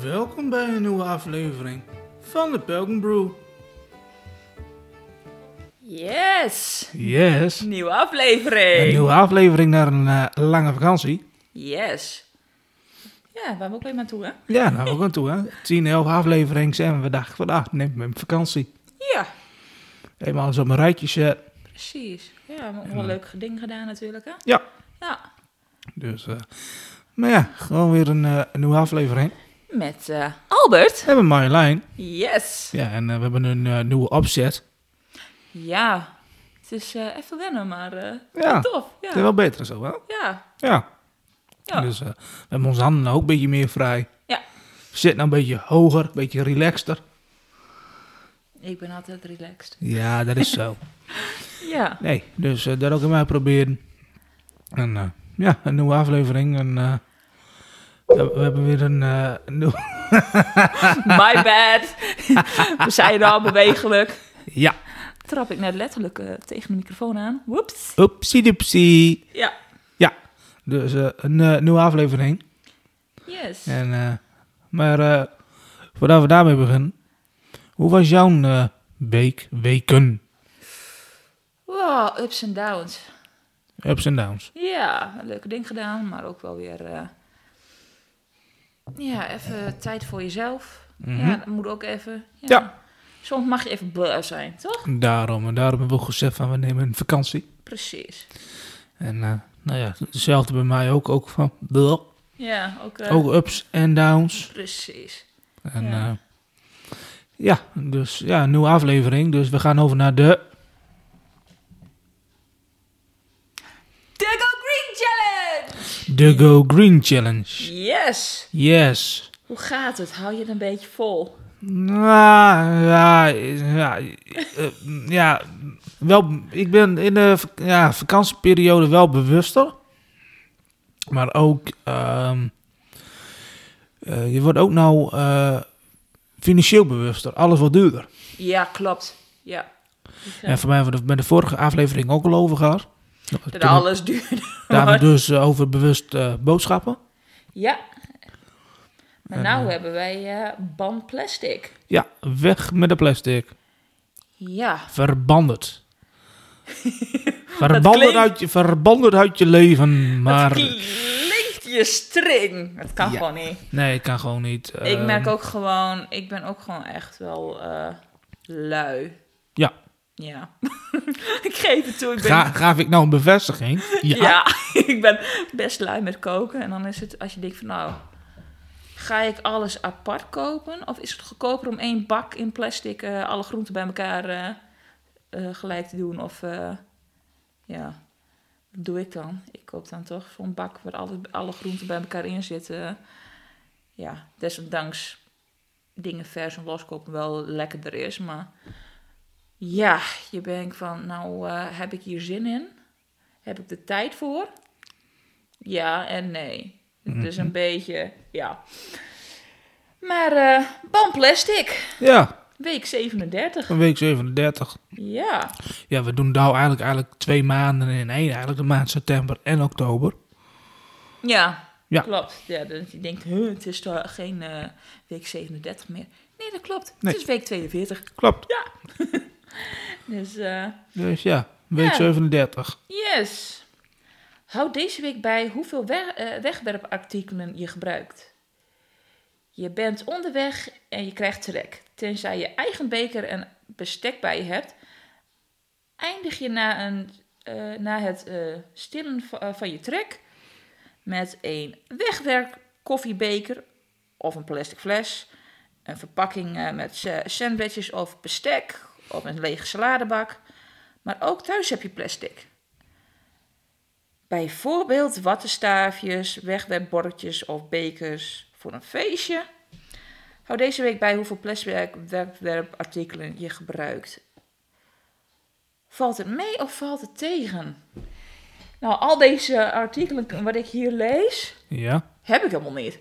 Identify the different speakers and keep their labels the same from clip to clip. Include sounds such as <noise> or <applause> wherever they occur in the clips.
Speaker 1: Welkom bij een nieuwe aflevering van de Pelgrim Brew.
Speaker 2: Yes!
Speaker 1: Yes.
Speaker 2: Nieuwe
Speaker 1: Een
Speaker 2: aflevering!
Speaker 1: nieuwe aflevering naar een eh, lange vakantie.
Speaker 2: Yes! Ja, waar we ook weer naartoe, hè?
Speaker 1: Ja, nou we gaan toe hè.
Speaker 2: <laughs>
Speaker 1: Tien, elf afleveringen zijn we dag voor dag. Neem mijn vakantie.
Speaker 2: Ja,
Speaker 1: Even alles op een rijtje zetten.
Speaker 2: precies. Ja, we hebben ook nog wel een leuk ding gedaan natuurlijk, hè?
Speaker 1: Ja.
Speaker 2: Ja,
Speaker 1: Dus, eh, maar ja, gewoon weer een, eh, een nieuwe aflevering.
Speaker 2: met eh, Albert.
Speaker 1: We hebben Marjolein.
Speaker 2: Yes!
Speaker 1: Ja, en eh, we hebben een eh, nieuwe opzet.
Speaker 2: Ja, het is eh, even wennen, maar eh,
Speaker 1: Ja, het
Speaker 2: tof.
Speaker 1: is
Speaker 2: Ja.
Speaker 1: wel beter en zo wel.
Speaker 2: ja,
Speaker 1: Ja.
Speaker 2: Ja.
Speaker 1: Dus eh, we hebben onze handen ook een beetje meer vrij.
Speaker 2: Ja.
Speaker 1: Zit nou een beetje hoger, een beetje relaxter.
Speaker 2: ik ben altijd relaxed.
Speaker 1: Ja, dat is zo.
Speaker 2: Ja,
Speaker 1: Nee, dus eh, dat ook in mij proberen. En eh, ja, een nieuwe aflevering. En, eh, we, we hebben weer een eh, nieuw-
Speaker 2: my bad! we zijn al bewegelijk.
Speaker 1: <laughs> Ja,
Speaker 2: Trap ik net letterlijk eh, tegen de microfoon aan. Whoops!
Speaker 1: oepsie doepsie.
Speaker 2: Ja,
Speaker 1: Dus eh, een eh, nieuwe aflevering.
Speaker 2: yes.
Speaker 1: En, eh, maar eh, voordat we daarmee beginnen. Hoe was jouw eh, week, weken,
Speaker 2: Wow, ups en downs.
Speaker 1: ups en downs?
Speaker 2: Ja, een leuke ding gedaan, maar ook wel weer. eh, ja, even tijd voor jezelf.
Speaker 1: Mhm.
Speaker 2: Ja, dat moet ook even. Ja.
Speaker 1: Ja.
Speaker 2: Soms mag je even blur zijn, toch?
Speaker 1: Daarom, en daarom hebben we ook gezegd van we nemen een vakantie.
Speaker 2: Precies.
Speaker 1: En eh, nou ja, hetzelfde bij mij ook. Ook, van, bleh,
Speaker 2: Ja, ook. eh,
Speaker 1: ook ups en downs.
Speaker 2: Precies.
Speaker 1: En ja.
Speaker 2: Ja.
Speaker 1: ja, dus ja, een nieuwe aflevering. Dus we gaan over naar de.
Speaker 2: De Go Green Challenge!
Speaker 1: De Go Green Challenge.
Speaker 2: Yes!
Speaker 1: Yes.
Speaker 2: Hoe gaat het? Hou je het een beetje vol?
Speaker 1: Nou, ja, ja, eh, ja, wel, ik ben in de vak- ja, vakantieperiode wel bewuster. Maar ook, ehm, eh, je wordt ook nou eh, financieel bewuster. Alles wordt duurder.
Speaker 2: Ja, klopt. Ja. Dus, eh,
Speaker 1: En voor mij hebben we er bij de vorige aflevering ook al over gehad.
Speaker 2: dat alles duurder.
Speaker 1: Daarom
Speaker 2: wordt.
Speaker 1: dus eh, over bewust eh, boodschappen.
Speaker 2: Ja. Maar
Speaker 1: En,
Speaker 2: nou
Speaker 1: eh,
Speaker 2: hebben wij eh ban plastic.
Speaker 1: Ja, weg met de plastic.
Speaker 2: Ja.
Speaker 1: Verband het.
Speaker 2: <laughs>
Speaker 1: Verband het
Speaker 2: klinkt-
Speaker 1: uit, je- verband het uit je leven, maar...
Speaker 2: Het klinkt je streng. Dat kan
Speaker 1: Ja.
Speaker 2: gewoon niet.
Speaker 1: Nee, ik kan gewoon niet.
Speaker 2: ik
Speaker 1: ehm,
Speaker 2: merk ook gewoon, ik ben ook gewoon echt wel eh, lui.
Speaker 1: Ja.
Speaker 2: Ja. <laughs> ik geef het toe. Ik ben,
Speaker 1: Ga, gaaf ik nou een bevestiging?
Speaker 2: <laughs>
Speaker 1: <laughs>
Speaker 2: ja. ik ben best lui met koken. En dan is het, als je denkt van nou, ga ik alles apart kopen? Of is het goedkoper om één bak in plastic eh, alle groenten bij elkaar eh, eh, gelijk te doen? Of eh, ja, wat doe ik dan? Ik koop dan toch zo'n bak waar alle, alle groenten bij elkaar in zitten. Ja, desondanks dingen vers en loskopen wel lekkerder is, maar... Ja, je denkt van, nou eh, heb ik hier zin in? Heb ik de tijd voor? Ja en nee. Het is
Speaker 1: Mhm.
Speaker 2: een beetje, ja. Maar eh ban plastic,
Speaker 1: Ja,
Speaker 2: week 37.
Speaker 1: een week 37.
Speaker 2: Ja,
Speaker 1: Ja, we doen nou eigenlijk, eigenlijk twee maanden in één. Eigenlijk de maand september en oktober.
Speaker 2: ja,
Speaker 1: Ja.
Speaker 2: klopt. Ja, dat je denkt, huh, het is toch geen eh, week 37 meer. Nee, dat klopt.
Speaker 1: Nee.
Speaker 2: Het is week 42.
Speaker 1: Klopt.
Speaker 2: Dus eh,
Speaker 1: Dus ja, week
Speaker 2: Ja.
Speaker 1: 37.
Speaker 2: yes. Houd deze week bij hoeveel we- eh, wegwerpartikelen je gebruikt. Je bent onderweg en je krijgt trek. Tenzij je eigen beker en bestek bij je hebt, eindig je na, een, eh, na het eh, stillen va- eh, van je trek met een wegwerk koffiebeker of een plastic fles, een verpakking eh, met sa- sandwiches of bestek of een lege saladebak. Maar ook thuis heb je plastic. Bijvoorbeeld wattenstaafjes, wegwerpbordjes of bekers voor een feestje. Hou deze week bij hoeveel plasticwerpartikelen je gebruikt. Valt het mee of valt het tegen? Nou, al deze artikelen wat ik hier lees,
Speaker 1: Ja.
Speaker 2: heb ik helemaal niet.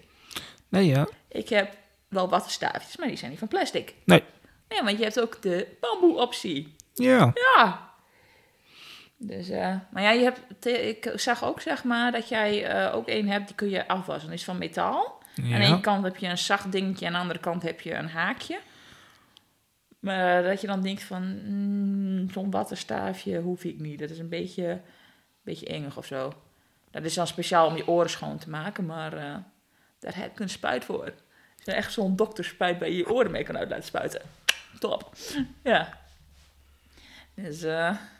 Speaker 1: Nee, ja.
Speaker 2: Ik heb wel wattenstaafjes, maar die zijn niet van plastic.
Speaker 1: Nee.
Speaker 2: Nee, want je hebt ook de bamboe-optie.
Speaker 1: Ja.
Speaker 2: Ja. Dus, eh, maar ja, je hebt, te- ik zag ook zeg maar dat jij eh, ook één hebt die kun je afwassen. Die is van metaal. Aan
Speaker 1: Ja.
Speaker 2: de ene kant heb je een zacht dingetje, aan de andere kant heb je een haakje. Maar eh, dat je dan denkt van, mm, zo'n wattenstaafje hoef ik niet. Dat is een beetje, een beetje engig of zo. Dat is dan speciaal om je oren schoon te maken, maar eh, daar heb ik een spuit voor. Is er echt zo'n dokterspuit bij je je oren mee kan uit laten spuiten. Top. Ja. Dus, eh... <laughs>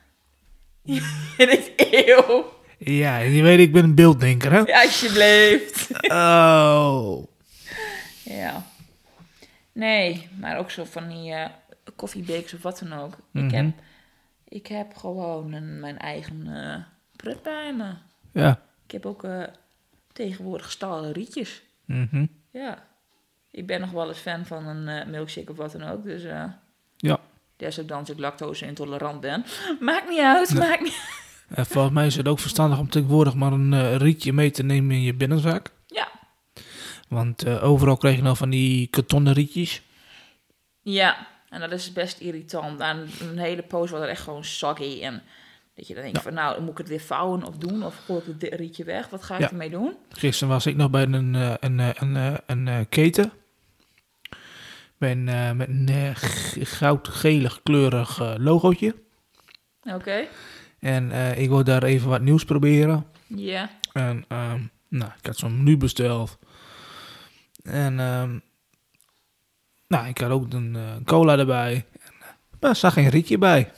Speaker 2: en ik, eeuw.
Speaker 1: Ja, je weet, ik ben een beelddenker, hè?
Speaker 2: Ja, alsjeblieft.
Speaker 1: Oh.
Speaker 2: Ja. Nee, maar ook zo van die eh koffiebakers of wat dan ook. ik,
Speaker 1: Mhm.
Speaker 2: heb, ik heb gewoon een, mijn eigen eh pret bij me.
Speaker 1: Ja.
Speaker 2: Ik heb ook eh, tegenwoordig stalen rietjes.
Speaker 1: Mhm.
Speaker 2: Ja. Ik ben nog wel eens fan van een eh, milkshake of wat dan ook. Dus eh
Speaker 1: Ja.
Speaker 2: desondanks ik lactose intolerant ben. <laughs> Maakt niet uit, maakt niet <laughs>
Speaker 1: En Eh, volgens mij is het ook verstandig om tegenwoordig maar een eh, rietje mee te nemen in je binnenzak.
Speaker 2: Ja.
Speaker 1: Want eh, overal krijg je nou van die kartonnen rietjes.
Speaker 2: Ja, en dat is best irritant. En een hele poos wordt er echt gewoon soggy. En dat je dan denkt van, nou, moet ik het weer vouwen of doen? Of gooi ik het rietje weg? Wat ga ik
Speaker 1: Ja.
Speaker 2: ermee doen?
Speaker 1: Gisteren was ik nog bij een, eh, een, eh, een, eh, een, eh, keten. Bij een, eh, met een eh, g- goudgelig kleurig eh, logootje.
Speaker 2: Oké.
Speaker 1: En eh, ik wil daar even wat nieuws proberen.
Speaker 2: Ja.
Speaker 1: En ehm, nou, ik had zo'n menu besteld. En ehm, nou, ik had ook een eh, cola erbij. En, eh, maar er zag geen rietje bij.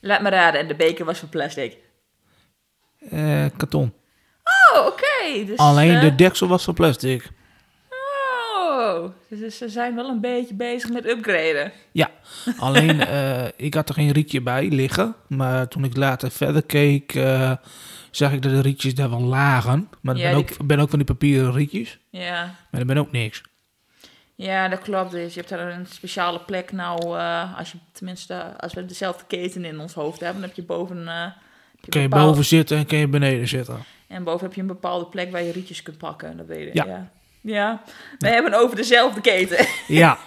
Speaker 2: Laat me raden, en de beker was van plastic.
Speaker 1: Eh, karton.
Speaker 2: Oh, oké. Dus,
Speaker 1: Alleen
Speaker 2: eh,
Speaker 1: de deksel was van
Speaker 2: <laughs>
Speaker 1: plastic.
Speaker 2: Oh, dus ze zijn wel een beetje bezig met upgraden.
Speaker 1: Ja, alleen eh, ik had er geen rietje bij liggen. Maar toen ik later verder keek, eh, zag ik dat de rietjes daar wel lagen. Maar ik
Speaker 2: Ja,
Speaker 1: ben,
Speaker 2: die-
Speaker 1: ook, ben ook van die papieren rietjes.
Speaker 2: Ja.
Speaker 1: Maar er ben ook niks.
Speaker 2: Ja, dat klopt. Dus je hebt daar een speciale plek. Nou, eh, als je tenminste, als we dezelfde keten in ons hoofd hebben, dan heb je boven. eh, heb je
Speaker 1: Kun je
Speaker 2: bepaalde-
Speaker 1: boven zitten en kun je beneden zitten.
Speaker 2: En boven heb je een bepaalde plek waar je rietjes kunt pakken. Dat weet ik. Ja.
Speaker 1: Ja.
Speaker 2: ja. we hebben over dezelfde keten. <laughs>
Speaker 1: Ja,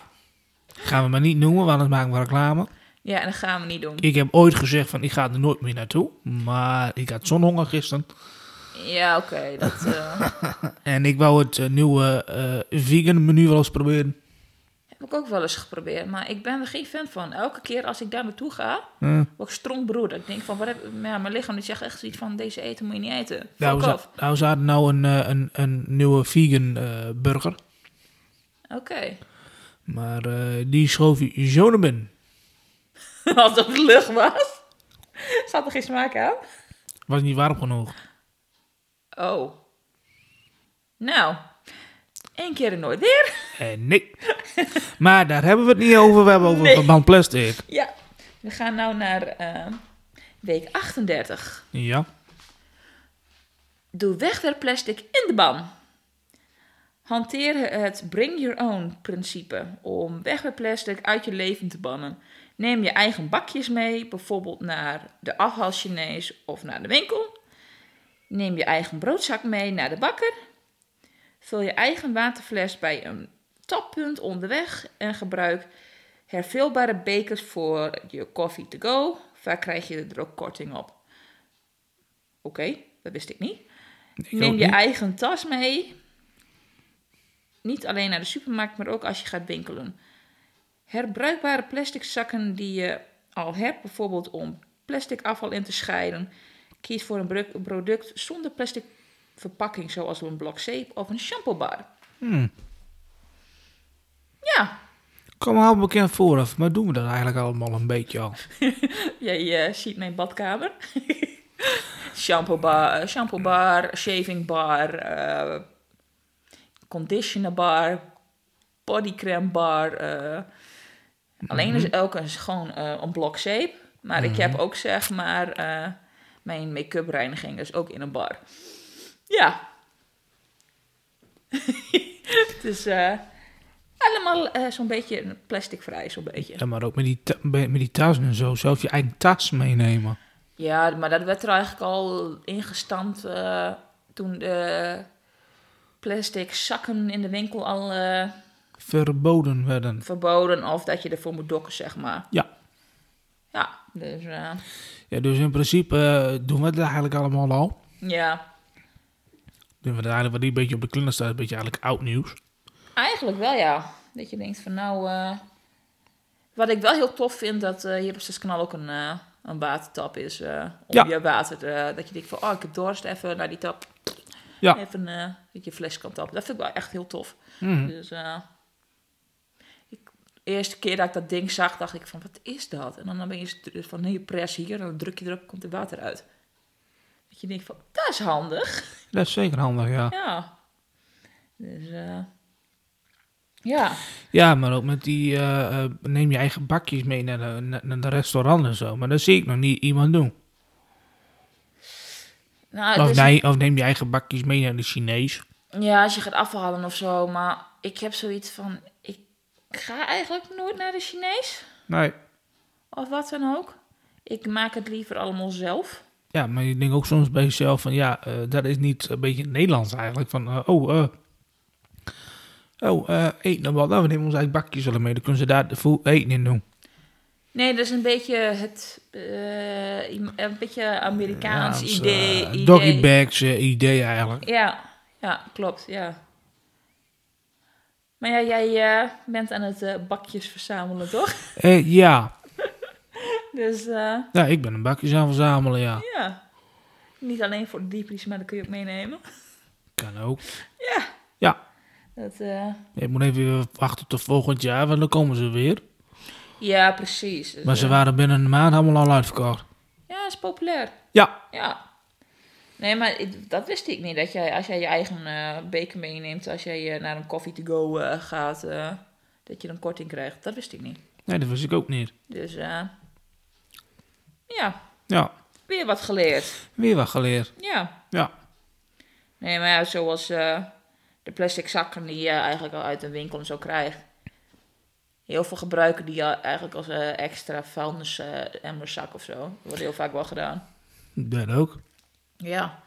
Speaker 1: gaan we maar niet noemen, want dan maken we reclame.
Speaker 2: Ja, en dat gaan we niet doen.
Speaker 1: Ik heb ooit gezegd van ik ga er nooit meer naartoe. Maar ik had zo'n honger gisteren.
Speaker 2: Ja, oké. dat, eh,
Speaker 1: En ik wou het eh, nieuwe eh, vegan menu wel eens proberen.
Speaker 2: heb ik ook wel eens geprobeerd. Maar ik ben er geen fan van. Elke keer als ik daar naartoe ga,
Speaker 1: Eh,
Speaker 2: word ik strontbroeder. Ik denk van, wat heb, ja, mijn lichaam die zegt echt zoiets van, deze eten moet je niet eten.
Speaker 1: nou,
Speaker 2: Fuck
Speaker 1: ze,
Speaker 2: off.
Speaker 1: nou, ze hadden nou een, eh, een, een nieuwe vegan eh, burger.
Speaker 2: Oké. <laughs>
Speaker 1: Maar eh, die schoof je zo naar binnen.
Speaker 2: Alsof het lucht was. Zat er geen smaak aan?
Speaker 1: Was niet warm genoeg.
Speaker 2: Oh. Nou. Eén keer en nooit weer.
Speaker 1: En Eh,
Speaker 2: <laughs>
Speaker 1: nee. maar daar hebben we het niet over. We hebben over
Speaker 2: Nee.
Speaker 1: verband plastic.
Speaker 2: Ja. We gaan nou naar eh, week 38.
Speaker 1: Ja.
Speaker 2: Doe wegwerpplastic in de ban. Hanteer het bring your own principe om wegwerpplastic uit je leven te bannen. Neem je eigen bakjes mee, bijvoorbeeld naar de afhaal Chinees of naar de winkel. Neem je eigen broodzak mee naar de bakker. Vul je eigen waterfles bij een tappunt onderweg en gebruik hervulbare bekers voor je koffie to go. Vaak krijg je er ook korting op. Oké, dat wist ik niet. Neem
Speaker 1: ook
Speaker 2: je
Speaker 1: niet.
Speaker 2: eigen tas mee. Niet alleen naar de supermarkt, maar ook als je gaat winkelen. Herbruikbare plastic zakken die je al hebt, bijvoorbeeld om plastic afval in te scheiden. Kies voor een bru- product zonder plastic verpakking, zoals een blok zeep of een shampoobar.
Speaker 1: Hmm.
Speaker 2: Ja,
Speaker 1: Kom maar al bekend vooraf. Maar doen we dat eigenlijk allemaal een beetje al?
Speaker 2: jij eh, ziet mijn badkamer. <laughs> shampoobar, eh, shampoobar, shavingbar, eh, conditionerbar, bodycremebar. eh. Alleen is ook een, gewoon eh, een blok zeep. Maar ik heb ook zeg maar eh, mijn make-up reiniging is ook in een bar. Ja. <laughs> Het is eh, allemaal eh, zo'n beetje plasticvrij, zo'n beetje.
Speaker 1: Ja, maar ook met die, ta- met die tas en zo. Zelf je eigen tas meenemen.
Speaker 2: Ja, maar dat werd er eigenlijk al ingestampt eh, toen de plastic zakken in de winkel al eh,
Speaker 1: verboden werden.
Speaker 2: verboden of dat je ervoor moet dokken, zeg maar.
Speaker 1: Ja.
Speaker 2: Ja, dus eh,
Speaker 1: ja dus in principe eh, doen we het eigenlijk allemaal al.
Speaker 2: ja.
Speaker 1: Doen we het eigenlijk wat die een beetje op de klinder staat, een beetje eigenlijk oud nieuws.
Speaker 2: Eigenlijk wel, ja. Dat je denkt van nou... eh, wat ik wel heel tof vind, dat eh, hier op Suskanaal ook een, eh, een watertap is. eh, om
Speaker 1: Ja.
Speaker 2: je water te- dat je denkt van, oh, ik heb dorst, even naar die tap.
Speaker 1: Ja.
Speaker 2: Even eh dat je fles kan tappen. Dat vind ik wel echt heel tof.
Speaker 1: Mhm.
Speaker 2: Dus eh, ik, de eerste keer dat ik dat ding zag, dacht ik van, wat is dat? En dan ben je dus van, nee, pres hier. En dan druk je erop, komt er water uit. Dat je denkt van, dat is handig.
Speaker 1: Dat is zeker handig, ja.
Speaker 2: Ja. Dus, eh, ja.
Speaker 1: Ja, maar ook met die, eh, eh, neem je eigen bakjes mee naar de, naar- naar de restaurant en zo. Maar dat zie ik nog niet iemand doen.
Speaker 2: Nou, het
Speaker 1: Of,
Speaker 2: is-
Speaker 1: nee, of neem je eigen bakjes mee naar de Chinees.
Speaker 2: Ja, als je gaat afhalen of zo. Maar ik heb zoiets van, ik ga eigenlijk nooit naar de Chinees.
Speaker 1: Nee.
Speaker 2: Of wat dan ook. Ik maak het liever allemaal zelf.
Speaker 1: Ja, maar je denkt ook soms bij jezelf van, ja, eh, dat is niet een beetje Nederlands eigenlijk. Van, eh, oh, eh oh, eh, eet nou wat. Nou, we nemen onze eigen bakjes wel mee. Dan kunnen ze daar de vo- eten in doen.
Speaker 2: Nee, dat is een beetje het. eh, een beetje Amerikaans
Speaker 1: Ja, dus,
Speaker 2: idee.
Speaker 1: eh,
Speaker 2: idee.
Speaker 1: Doggy bags eh, idee eigenlijk.
Speaker 2: Ja, ja, klopt, ja. Maar ja, jij eh, bent aan het eh, bakjes verzamelen, toch?
Speaker 1: Eh, ja.
Speaker 2: Dus eh,
Speaker 1: ja, ik ben een bakjes aan het verzamelen, ja.
Speaker 2: ja. Niet alleen voor de diepries, maar dat kun je ook meenemen.
Speaker 1: Kan ook.
Speaker 2: Ja.
Speaker 1: Ja.
Speaker 2: Dat, eh,
Speaker 1: Ik moet even weer wachten tot volgend jaar, want dan komen ze weer.
Speaker 2: ja, precies. Dus,
Speaker 1: Maar ze
Speaker 2: eh,
Speaker 1: waren binnen een maand allemaal al uitverkocht.
Speaker 2: Ja, is populair.
Speaker 1: Ja,
Speaker 2: Ja. Nee, maar ik- dat wist ik niet. Dat jij, als jij je eigen eh, beker meeneemt, als jij eh, naar een coffee to go eh, gaat, eh, dat je een korting krijgt. Dat wist ik niet.
Speaker 1: nee, dat wist ik ook niet.
Speaker 2: Dus eh, ja,
Speaker 1: Ja,
Speaker 2: weer wat geleerd.
Speaker 1: weer wat geleerd.
Speaker 2: Ja.
Speaker 1: Ja,
Speaker 2: Nee, maar ja, zoals eh, de plastic zakken die je eigenlijk al uit de winkel en zo krijgt. Heel veel gebruiken die al- eigenlijk als eh, extra vuilnis eh, emmerzak of zo. Dat wordt heel vaak wel gedaan.
Speaker 1: dat ook.
Speaker 2: Ja.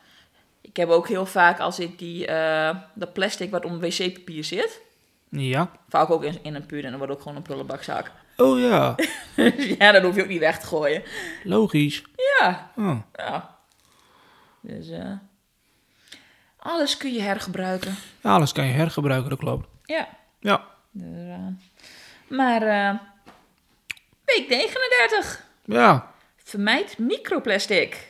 Speaker 2: Ik heb ook heel vaak als ik die, eh, dat plastic wat om wc-papier zit,
Speaker 1: Ja.
Speaker 2: vaak ook in, in een puur en dan wordt ook gewoon een prullenbakzak.
Speaker 1: Oh ja,
Speaker 2: <laughs> Dus ja, dat hoef je ook niet weg te gooien.
Speaker 1: logisch.
Speaker 2: Ja,
Speaker 1: Oh,
Speaker 2: ja. Dus eh, alles kun je hergebruiken.
Speaker 1: ja, alles kan je hergebruiken, dat klopt.
Speaker 2: Ja.
Speaker 1: Ja,
Speaker 2: Dus, eh, maar eh, week 39.
Speaker 1: ja.
Speaker 2: Vermijd microplastic.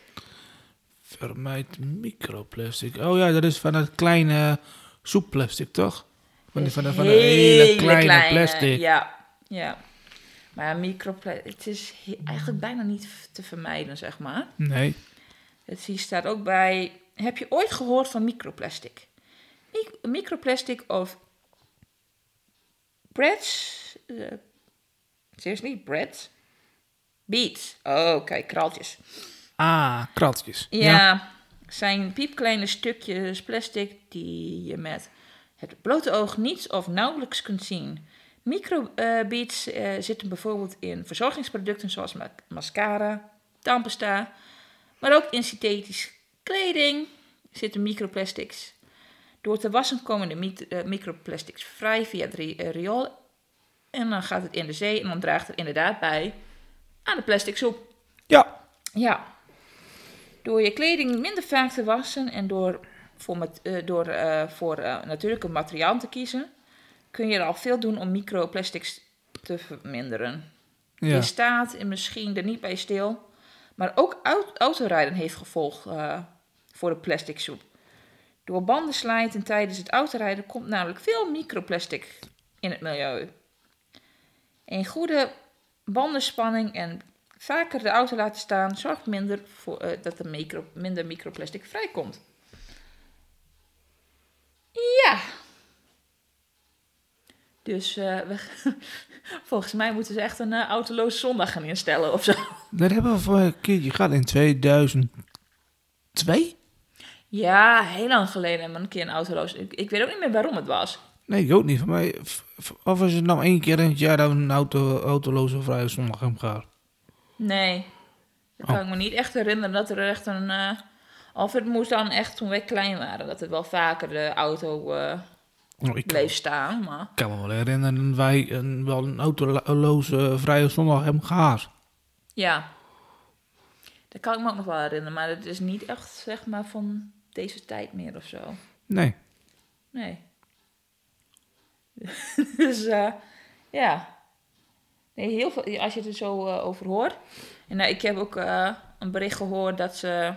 Speaker 1: Vermijd microplastic. Oh ja, dat is van dat kleine soepplastic, toch? Van, die- van, dat- van dat hele kleine, plastic.
Speaker 2: Ja, ja. Maar ja, microplastic, het is he- eigenlijk bijna niet v- te vermijden, zeg maar.
Speaker 1: Nee.
Speaker 2: Het hier staat ook bij, heb je ooit gehoord van microplastic? Mi- Microplastic of breads, eh, seriously, breads? Beets, oh kijk, kraaltjes.
Speaker 1: Ah, kratjes.
Speaker 2: Ja, zijn piepkleine stukjes plastic die je met het blote oog niets of nauwelijks kunt zien. Microbeads zitten bijvoorbeeld in verzorgingsproducten zoals ma- mascara, tandpasta, maar ook in synthetische kleding zitten microplastics. Door te wassen komen de mit- eh, microplastics vrij via het ri- eh, riool en dan gaat het in de zee en dan draagt het inderdaad bij aan de plastic soep.
Speaker 1: Ja.
Speaker 2: Ja. Door je kleding minder vaak te wassen en door voor, mat- eh, door, eh, voor eh, natuurlijke materiaal te kiezen, kun je er al veel doen om microplastics te verminderen.
Speaker 1: Ja.
Speaker 2: Je staat en misschien er niet bij stil, maar ook au- autorijden heeft gevolg eh, voor de plastic soep. Door banden slijten tijdens het autorijden komt namelijk veel microplastic in het milieu. Een goede bandenspanning en vaker de auto laten staan zorgt minder voor, eh, dat er micro, minder microplastic vrijkomt. Ja. Dus eh, we, <laughs> volgens mij moeten ze echt een eh, autoloze zondag gaan instellen of zo.
Speaker 1: Dat hebben we vorige keer. Je gaat in 2002?
Speaker 2: Ja, heel lang geleden hebben we een keer een autoloos. Ik, ik weet ook niet meer waarom het was.
Speaker 1: Nee, ik ook niet. Van mij, f- f- of is het nou één keer in het jaar dat we een auto, autoloze vrije zondag hebben gehad?
Speaker 2: Nee. Dat kan ik me niet echt herinneren dat er echt een. eh, of het moest dan echt toen wij klein waren, dat er wel vaker de auto eh,
Speaker 1: Nou, ik kan,
Speaker 2: bleef staan. Maar
Speaker 1: ik kan me wel herinneren dat wij een, wel een autoloze vrije zondag hebben gehad.
Speaker 2: ja. Dat kan ik me ook nog wel herinneren, maar het is niet echt zeg maar van deze tijd meer of zo.
Speaker 1: Nee.
Speaker 2: Nee. <laughs> dus eh, ja. Nee, heel veel, als je het er zo eh, over hoort. En nou, ik heb ook eh, een bericht gehoord dat ze,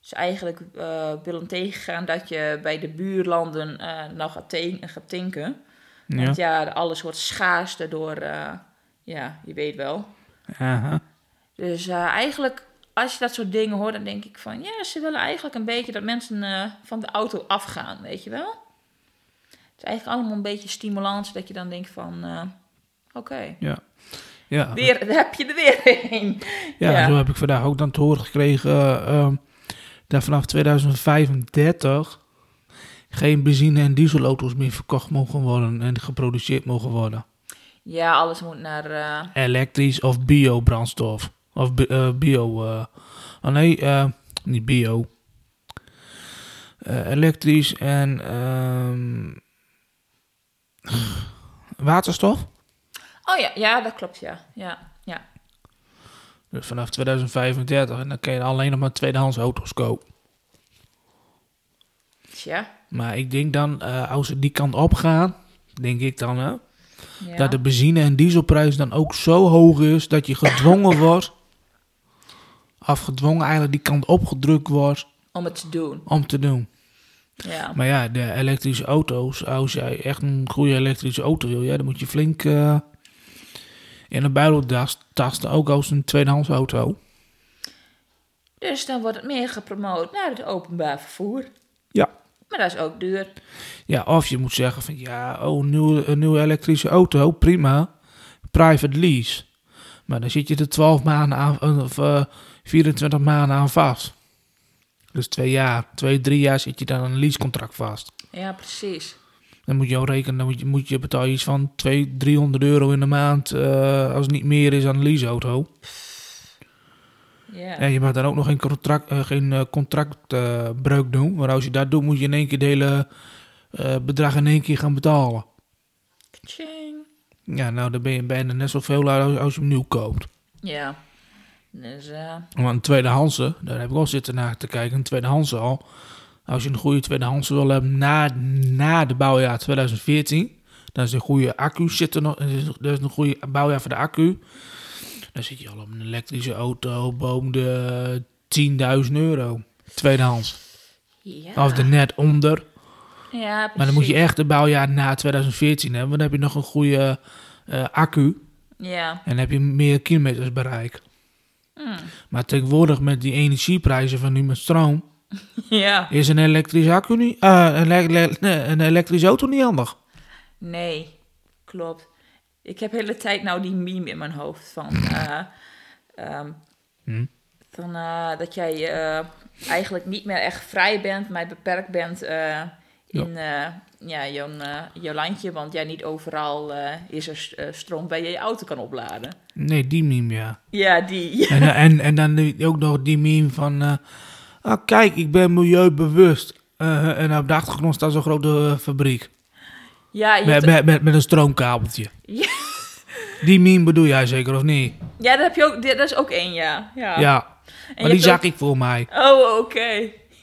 Speaker 2: ze eigenlijk eh, willen tegengaan dat je bij de buurlanden eh, nou gaat, tin- gaat tinken.
Speaker 1: Ja.
Speaker 2: Want ja, alles wordt schaars daardoor. eh, ja, je weet wel.
Speaker 1: Aha.
Speaker 2: Dus eh, eigenlijk, als je dat soort dingen hoort, dan denk ik van... Ja, ze willen eigenlijk een beetje dat mensen eh, van de auto afgaan, weet je wel? Het is eigenlijk allemaal een beetje stimulans dat je dan denkt van... eh, Oké,
Speaker 1: Ja. Ja.
Speaker 2: weer, <laughs> daar heb je er weer een.
Speaker 1: Ja,
Speaker 2: Ja.
Speaker 1: zo heb ik vandaag ook dan te horen gekregen eh, ehm, dat vanaf 2035 geen benzine- en dieselauto's meer verkocht mogen worden en geproduceerd mogen worden.
Speaker 2: Ja, alles moet naar... eh,
Speaker 1: Elektrisch of biobrandstof. Of bi- eh, bio. eh, oh nee, eh, niet bio. Eh, elektrisch en ehm, waterstof.
Speaker 2: Oh ja, ja, dat klopt, ja. Ja, ja.
Speaker 1: Dus vanaf 2035 en dan kan je alleen nog maar tweedehands auto's kopen.
Speaker 2: Tja.
Speaker 1: Maar ik denk dan, eh, als ze die kant op gaan, denk ik dan, hè,
Speaker 2: Ja.
Speaker 1: dat Nou, de benzine- en dieselprijs dan ook zo hoog is dat je gedwongen wordt, of gedwongen eigenlijk die kant opgedrukt wordt
Speaker 2: Om het te doen,
Speaker 1: om te doen.
Speaker 2: ja.
Speaker 1: Maar ja, de elektrische auto's, als jij echt een goede elektrische auto wil, ja, dan moet je flink eh, in de buidel tas- tasten, ook als een tweedehands auto.
Speaker 2: Dus dan wordt het meer gepromoot naar het openbaar vervoer.
Speaker 1: Ja.
Speaker 2: Maar dat is ook duur.
Speaker 1: Ja, of je moet zeggen van ja, oh, nieuw, een nieuwe elektrische auto, oh, prima. Private lease. Maar dan zit je er 12 maanden aan, of eh, 24 maanden aan vast. Dus twee jaar, twee, drie jaar zit je dan aan een leasecontract vast.
Speaker 2: Ja, precies.
Speaker 1: Dan moet je al rekenen, dan moet je, moet je betalen iets van 200, 300 euro in de maand. eh, als het niet meer is aan een leaseauto.
Speaker 2: Ja.
Speaker 1: En je mag dan ook nog geen contract, eh, geen eh, contractbreuk doen. Maar als je dat doet, moet je in één keer het hele eh, bedrag in één keer gaan betalen.
Speaker 2: Tjing.
Speaker 1: Ja, nou, dan ben je bijna net zoveel uit als, als je hem nieuw koopt.
Speaker 2: Ja. Dus, eh,
Speaker 1: Want een tweedehandse, daar heb ik al zitten naar te kijken, een tweedehandse al. Als je een goede tweedehandse wil hebben na, na de bouwjaar 2014, dan is een goede accu zitten nog, dat is een goede bouwjaar voor de accu. Dan zit je al op een elektrische auto boven de 10.000 euro. Tweedehands.
Speaker 2: ja.
Speaker 1: Of er net onder.
Speaker 2: ja, precies.
Speaker 1: Maar dan moet je echt de bouwjaar na 2014 hebben. Want dan heb je nog een goede eh, accu.
Speaker 2: Ja. <laughs>
Speaker 1: En dan heb je meer kilometers bereik. Maar tegenwoordig met die energieprijzen van nu met stroom...
Speaker 2: Ja.
Speaker 1: is een elektrisch, accu niet, eh, een, le- le- nee, een elektrische auto niet handig.
Speaker 2: Nee, klopt. Ik heb de hele tijd nou die meme in mijn hoofd
Speaker 1: <laughs>
Speaker 2: van... eh, ehm,
Speaker 1: Hm.
Speaker 2: van eh, dat jij eh, eigenlijk niet meer echt vrij bent, maar beperkt bent eh, in eh, ja, jouw, eh, jouw landje. Want jij niet overal eh, is er s- eh, stroom bij je je auto kan opladen.
Speaker 1: Nee, die meme, ja. <laughs>
Speaker 2: Ja, die. <laughs>
Speaker 1: En, en, en dan nu ook nog die meme van... eh, ah, kijk, ik ben milieubewust. Eh, en op de achtergrond staat zo'n grote eh, fabriek.
Speaker 2: Ja, je
Speaker 1: Met,
Speaker 2: hebt-
Speaker 1: met, met, met een stroomkabeltje.
Speaker 2: <laughs> Ja.
Speaker 1: Die meme bedoel jij zeker, of niet?
Speaker 2: ja, daar heb je ook, dat is ook één, ja. Ja,
Speaker 1: Ja.
Speaker 2: En je
Speaker 1: Maar die
Speaker 2: hebt ook-
Speaker 1: zag ik voor mij.
Speaker 2: Oh, oké. <laughs>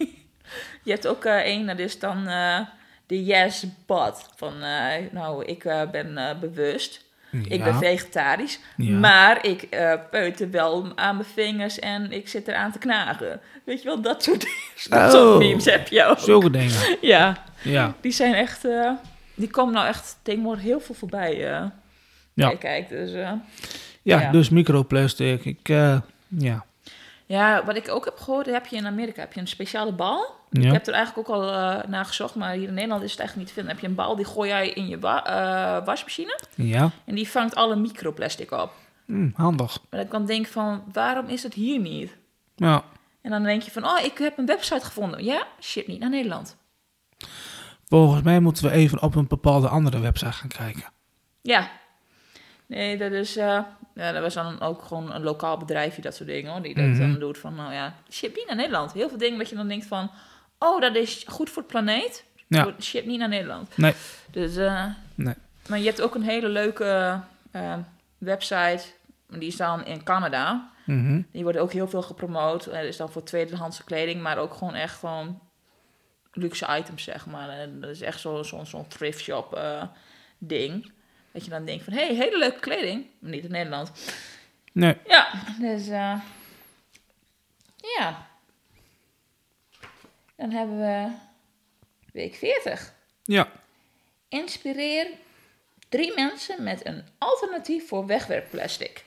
Speaker 2: je hebt ook eh één, dat is dan eh, de yes but. Van, eh, nou, ik eh, ben eh, bewust. Ik ben
Speaker 1: Ja.
Speaker 2: vegetarisch.
Speaker 1: Ja.
Speaker 2: Maar ik eh peuter wel aan mijn vingers en ik zit eraan te knagen. Weet je wel, dat soort, <laughs> dat soort
Speaker 1: Oh.
Speaker 2: memes heb je ook.
Speaker 1: Zulke dingen.
Speaker 2: <laughs> Ja,
Speaker 1: Ja.
Speaker 2: die zijn echt... eh, die komen nou echt tegenwoordig heel veel voorbij. eh.
Speaker 1: Ja.
Speaker 2: Kijk, kijk, dus... eh,
Speaker 1: Ja,
Speaker 2: Ja.
Speaker 1: dus microplastic. Ik, eh, ja.
Speaker 2: Ja, wat ik ook heb gehoord, heb je in Amerika heb je een speciale bal.
Speaker 1: ja.
Speaker 2: Ik heb er eigenlijk ook al eh, naar gezocht, maar hier in Nederland is het eigenlijk niet te vinden. Dan heb je een bal, die gooi jij in je wa- eh, wasmachine
Speaker 1: Ja.
Speaker 2: en die vangt alle microplastic op.
Speaker 1: Hm, handig.
Speaker 2: Maar dan kan ik denk van, waarom is het hier niet?
Speaker 1: Ja.
Speaker 2: En dan denk je van, oh, ik heb een website gevonden. Ja, shit, niet naar Nederland.
Speaker 1: Volgens mij moeten we even op een bepaalde andere website gaan kijken.
Speaker 2: Ja. Nee, dat is... eh, ja, dat was dan ook gewoon een lokaal bedrijfje, dat soort dingen. Hoor, die dat
Speaker 1: Mhm.
Speaker 2: dan doet van, nou ja, ship niet naar Nederland. Heel veel dingen dat je dan denkt van... Oh, dat is goed voor het planeet.
Speaker 1: Ja.
Speaker 2: wordt- Ship niet naar Nederland.
Speaker 1: Nee.
Speaker 2: Dus, eh,
Speaker 1: Nee.
Speaker 2: Maar je hebt ook een hele leuke eh, website. Die is dan in Canada.
Speaker 1: Mhm.
Speaker 2: Die wordt ook heel veel gepromoot. Eh, Dat is dan voor tweedehandse kleding, maar ook gewoon echt gewoon luxe items, zeg maar. En dat is echt zo'n zo, zo'n thrift shop eh, ding. Dat je dan denkt van, hé, hey, hele leuke kleding. Maar niet in Nederland.
Speaker 1: Nee.
Speaker 2: Ja, dus eh, ja. Dan hebben we week 40.
Speaker 1: Ja.
Speaker 2: Inspireer drie mensen met een alternatief voor wegwerpplastic.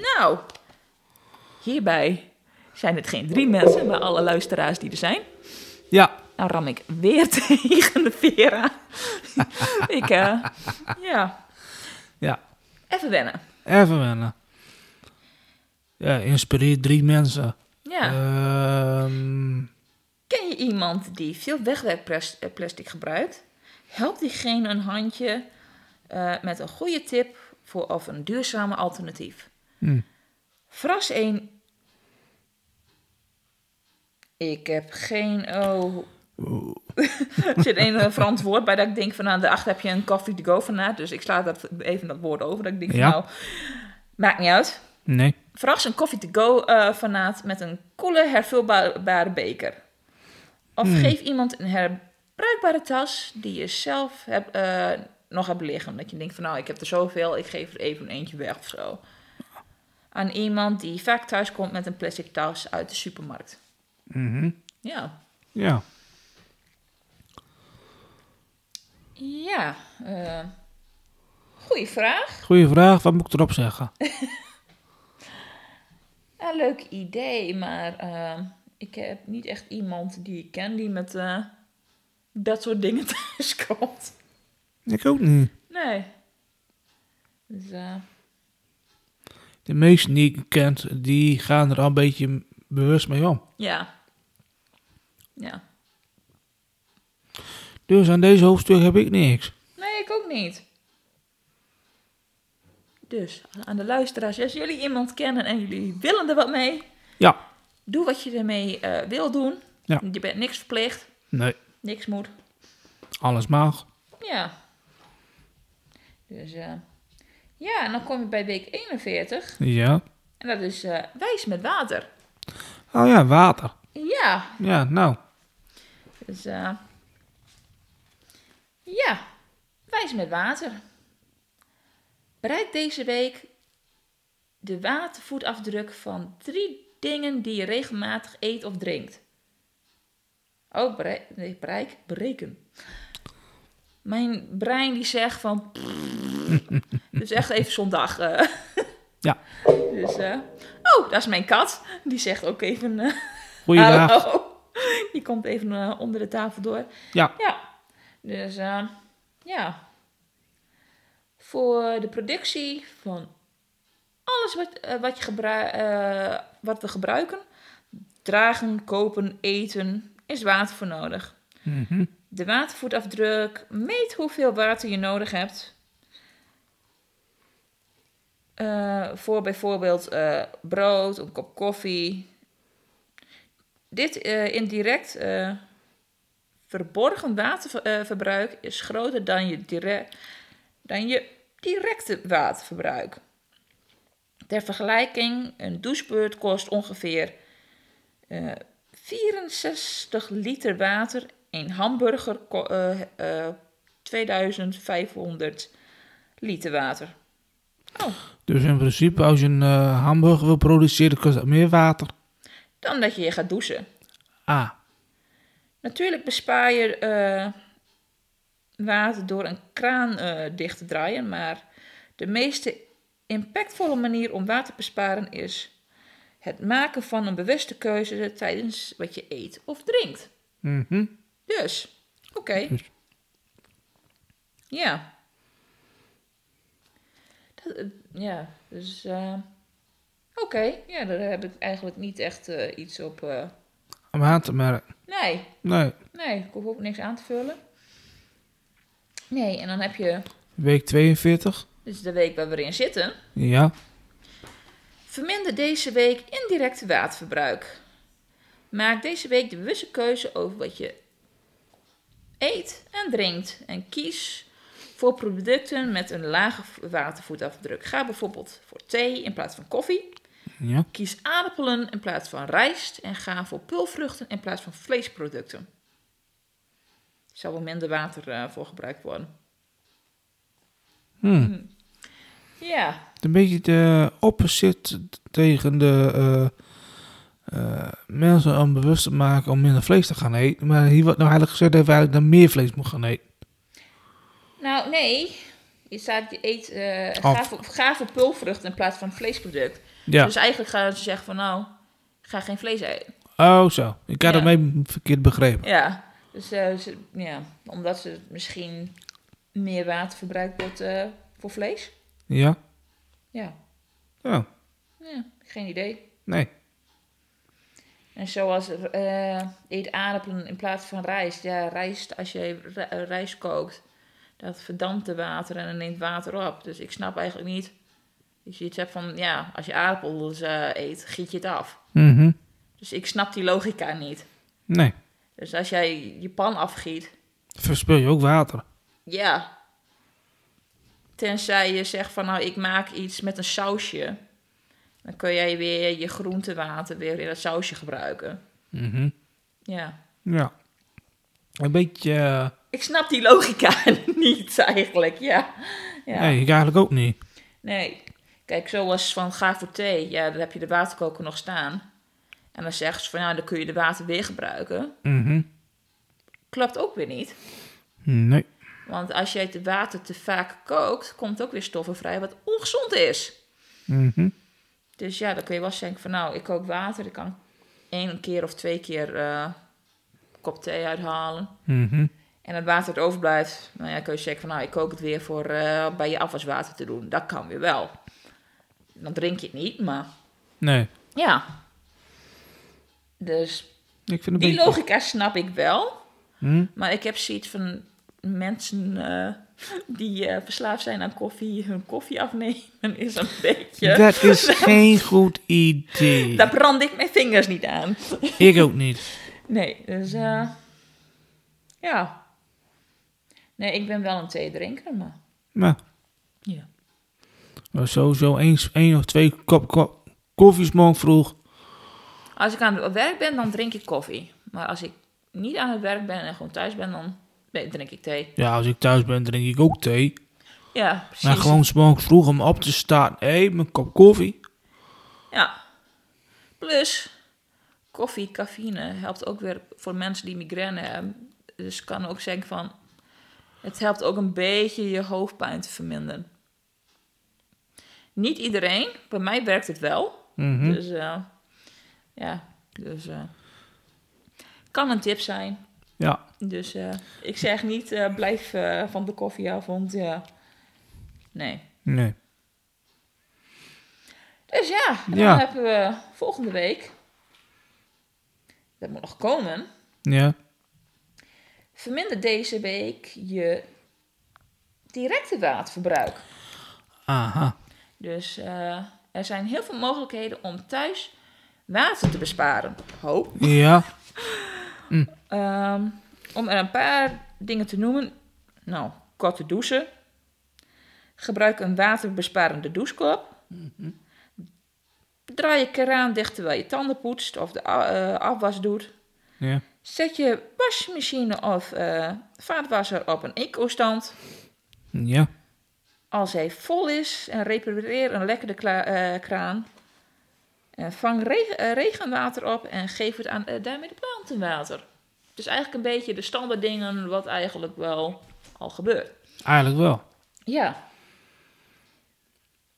Speaker 2: Nou, hierbij zijn het geen drie mensen, maar alle luisteraars die er zijn.
Speaker 1: Ja.
Speaker 2: Nou ram ik weer <laughs> tegen de Vera. <laughs> ik, eh, ja,
Speaker 1: Ja.
Speaker 2: even wennen.
Speaker 1: Even wennen. Ja, inspireer drie mensen.
Speaker 2: Ja.
Speaker 1: Ehm,
Speaker 2: Ken je iemand die veel wegwerpplastic gebruikt? Help diegene een handje eh, met een goede tip voor of een duurzame alternatief.
Speaker 1: Hmm.
Speaker 2: Verras een. Ik heb geen. Oh. <laughs> er zit een eh, Frans woord bij dat ik denk van aan de acht heb je een coffee to go vanuit. Dus ik sla dat even dat woord over. Dat ik denk van,
Speaker 1: Ja.
Speaker 2: nou, maakt niet uit.
Speaker 1: nee.
Speaker 2: Verras een coffee to go eh, fanaat met een koele hervulbare beker. Of geef iemand een herbruikbare tas die je zelf hebt, eh, nog hebt liggen. Dat je denkt van nou, ik heb er zoveel, ik geef er even eentje weg of zo. Aan iemand die vaak thuis komt met een plastic tas uit de supermarkt.
Speaker 1: Mhm.
Speaker 2: Ja.
Speaker 1: Ja.
Speaker 2: Ja. eh, goeie vraag.
Speaker 1: Goeie vraag. Wat moet ik erop zeggen?
Speaker 2: Ja, leuk idee, maar eh, ik heb niet echt iemand die ik ken die met eh, dat soort dingen <laughs> thuis komt.
Speaker 1: Ik ook niet.
Speaker 2: Nee. Dus, eh,
Speaker 1: De meesten die ik kent, die gaan er al een beetje bewust mee om.
Speaker 2: ja. Ja.
Speaker 1: Dus aan deze hoofdstuk heb ik niks.
Speaker 2: Nee, ik ook niet. Dus aan de luisteraars, als jullie iemand kennen en jullie willen er wat mee,
Speaker 1: Ja.
Speaker 2: doe wat je ermee eh, wil doen.
Speaker 1: Ja.
Speaker 2: Je bent niks verplicht,
Speaker 1: Nee.
Speaker 2: niks moet.
Speaker 1: Alles mag.
Speaker 2: Ja. Dus eh, ja, en dan kom je bij week 41.
Speaker 1: Ja.
Speaker 2: En dat is eh, wijs met water.
Speaker 1: Oh ja, water.
Speaker 2: Ja,
Speaker 1: Ja, nou.
Speaker 2: dus eh, ja, wijs met water. Bereik deze week de watervoetafdruk van drie dingen die je regelmatig eet of drinkt. Oh, bereik, nee, bereik, breken. Mijn brein die zegt van... <laughs> dus echt even zondag. eh.
Speaker 1: Ja.
Speaker 2: Dus, eh, oh, daar is mijn kat. Die zegt ook even... eh,
Speaker 1: Goeiedag.
Speaker 2: Hallo. Die komt even eh, onder de tafel door.
Speaker 1: Ja.
Speaker 2: Ja. Dus eh, ja. Voor de productie van alles wat, eh, wat, je gebru- eh, wat we gebruiken, dragen, kopen, eten, is water voor nodig.
Speaker 1: Mhm.
Speaker 2: De watervoetafdruk meet hoeveel water je nodig hebt. Eh, voor bijvoorbeeld eh, brood, een kop koffie. Dit eh, indirect eh, verborgen waterverbruik is groter dan je, dire- dan je directe waterverbruik. Ter vergelijking, een douchebeurt kost ongeveer eh, 64 liter water. Een hamburger ko- eh, eh, 2500 liter water. Oh,
Speaker 1: Dus in principe, als je een eh, hamburger wil produceren, kost dat meer water.
Speaker 2: dan dat je je gaat douchen.
Speaker 1: Ah.
Speaker 2: Natuurlijk bespaar je eh, water door een kraan eh, dicht te draaien, maar de meest impactvolle manier om water te besparen is het maken van een bewuste keuze tijdens wat je eet of drinkt.
Speaker 1: Mhm.
Speaker 2: Dus, oké.
Speaker 1: Dus.
Speaker 2: Ja. Dat, eh, ja, dus. eh, oké, ja, daar heb ik eigenlijk niet echt eh, iets op. eh,
Speaker 1: Water, maar...
Speaker 2: nee,
Speaker 1: Nee.
Speaker 2: nee, ik hoef ook niks aan te vullen. Nee, en dan heb je.
Speaker 1: Week 42.
Speaker 2: Dus de week waar we in zitten.
Speaker 1: Ja.
Speaker 2: Verminder deze week indirect waterverbruik. Maak deze week de bewuste keuze over wat je eet en drinkt. En kies voor producten met een lage watervoetafdruk. Ga bijvoorbeeld voor thee in plaats van koffie.
Speaker 1: Ja.
Speaker 2: Kies aardappelen in plaats van rijst. En ga voor pulvruchten in plaats van vleesproducten. Er zal wel minder water eh, voor gebruikt worden.
Speaker 1: Hm.
Speaker 2: Mm. Ja,
Speaker 1: Een beetje de opposite tegen de eh, eh, mensen om bewust te maken om minder vlees te gaan eten. Maar hier wordt nou eigenlijk gezegd dat we eigenlijk dan meer vlees moeten gaan eten.
Speaker 2: nou nee. Je staat, je eet eh
Speaker 1: Oh.
Speaker 2: gave, gave pulvrucht in plaats van vleesproduct.
Speaker 1: Ja.
Speaker 2: Dus eigenlijk gaan ze zeggen van nou, ga geen vlees eten.
Speaker 1: Oh, zo. Ik had
Speaker 2: Ja.
Speaker 1: het mee verkeerd begrepen.
Speaker 2: Ja, dus eh, ze- ja, omdat ze misschien meer water verbruikt wordt eh, voor vlees.
Speaker 1: Ja?
Speaker 2: Ja.
Speaker 1: Ja.
Speaker 2: ja, geen idee.
Speaker 1: Nee.
Speaker 2: En zoals eh eet aardappelen in plaats van rijst. Ja, rijst, als je ri- eh, rijst kookt, dat verdampt de water en dan neemt water op. Dus ik snap eigenlijk niet. Dus je iets hebt van, ja, als je aardappels eh, eet, giet je het af.
Speaker 1: Mhm.
Speaker 2: Dus ik snap die logica niet.
Speaker 1: Nee.
Speaker 2: Dus als jij je pan afgiet,
Speaker 1: Verspil je ook water.
Speaker 2: Ja. Tenzij je zegt van nou, ik maak iets met een sausje. Dan kun jij weer je groentewater weer in dat sausje gebruiken.
Speaker 1: Mhm.
Speaker 2: Ja.
Speaker 1: Ja. Een beetje... eh,
Speaker 2: Ik snap die logica <laughs> niet eigenlijk, ja. ja. Nee.
Speaker 1: Nee, ik eigenlijk ook niet.
Speaker 2: Kijk, zoals van ga voor thee. Ja, dan heb je de waterkoker nog staan. En dan zeggen ze van nou, dan kun je de water weer gebruiken.
Speaker 1: Mhm.
Speaker 2: Klopt ook weer niet.
Speaker 1: Nee.
Speaker 2: Want als jij het water te vaak kookt, komt ook weer stoffen vrij wat ongezond is.
Speaker 1: Mhm.
Speaker 2: Dus ja, dan kun je wel eens denken van nou, ik kook water. Ik kan één keer of twee keer eh, een kop thee uithalen.
Speaker 1: Mhm.
Speaker 2: En het water dat overblijft, nou ja, kun je zeggen van nou, ik kook het weer voor eh, bij je afwaswater te doen. Dat kan weer wel. Dan drink je het niet, maar
Speaker 1: Nee.
Speaker 2: ja. Dus
Speaker 1: Ik vind het een
Speaker 2: die
Speaker 1: beetje...
Speaker 2: logica snap ik wel.
Speaker 1: Hm?
Speaker 2: Maar ik heb zoiets van mensen eh, die eh, verslaafd zijn aan koffie, hun koffie afnemen is een beetje...
Speaker 1: Dat is geen goed
Speaker 2: <laughs>
Speaker 1: idee.
Speaker 2: Daar brand ik mijn vingers niet aan.
Speaker 1: Ik ook niet.
Speaker 2: Nee, dus eh, ja. Nee, ik ben wel een theedrinker, maar
Speaker 1: Maar...
Speaker 2: ja.
Speaker 1: Maar sowieso eens één of twee kop, kop koffies morgen vroeg.
Speaker 2: Als ik aan het werk ben, dan drink ik koffie. Maar als ik niet aan het werk ben en gewoon thuis ben, dan nee, drink ik thee.
Speaker 1: Ja, als ik thuis ben, drink ik ook thee.
Speaker 2: Ja, precies.
Speaker 1: Maar gewoon 's morgens vroeg om op te staan. Hé, mijn kop koffie.
Speaker 2: Ja. Plus, koffie, cafeïne helpt ook weer voor mensen die migraine hebben. Dus ik kan ook zeggen van, het helpt ook een beetje je hoofdpijn te verminderen. Niet iedereen, bij mij werkt het wel.
Speaker 1: Mhm.
Speaker 2: Dus eh, ja, dus eh, kan een tip zijn.
Speaker 1: Ja,
Speaker 2: Dus eh, ik zeg niet eh, blijf eh, van de koffie af, want ja, nee.
Speaker 1: nee.
Speaker 2: Dus ja, en dan
Speaker 1: Ja.
Speaker 2: hebben we volgende week. Dat moet nog komen.
Speaker 1: Ja,
Speaker 2: Verminder deze week je directe waterverbruik.
Speaker 1: aha.
Speaker 2: Dus eh, er zijn heel veel mogelijkheden om thuis water te besparen. Hoop.
Speaker 1: Ja,
Speaker 2: Ehm, om er een paar dingen te noemen. Nou, korte douchen. Gebruik een waterbesparende douchekop. Draai je kraan dicht terwijl je tanden poetst of de a- eh, afwas doet.
Speaker 1: ja.
Speaker 2: Zet je wasmachine of eh, vaatwasser op een eco-stand.
Speaker 1: Ja,
Speaker 2: Als hij vol is en repareer een lekkere kla- eh, kraan. En vang reg- eh, regenwater op en geef het aan, eh, daarmee de planten water. Dus eigenlijk een beetje de standaard dingen wat eigenlijk wel al gebeurt.
Speaker 1: eigenlijk wel.
Speaker 2: Ja.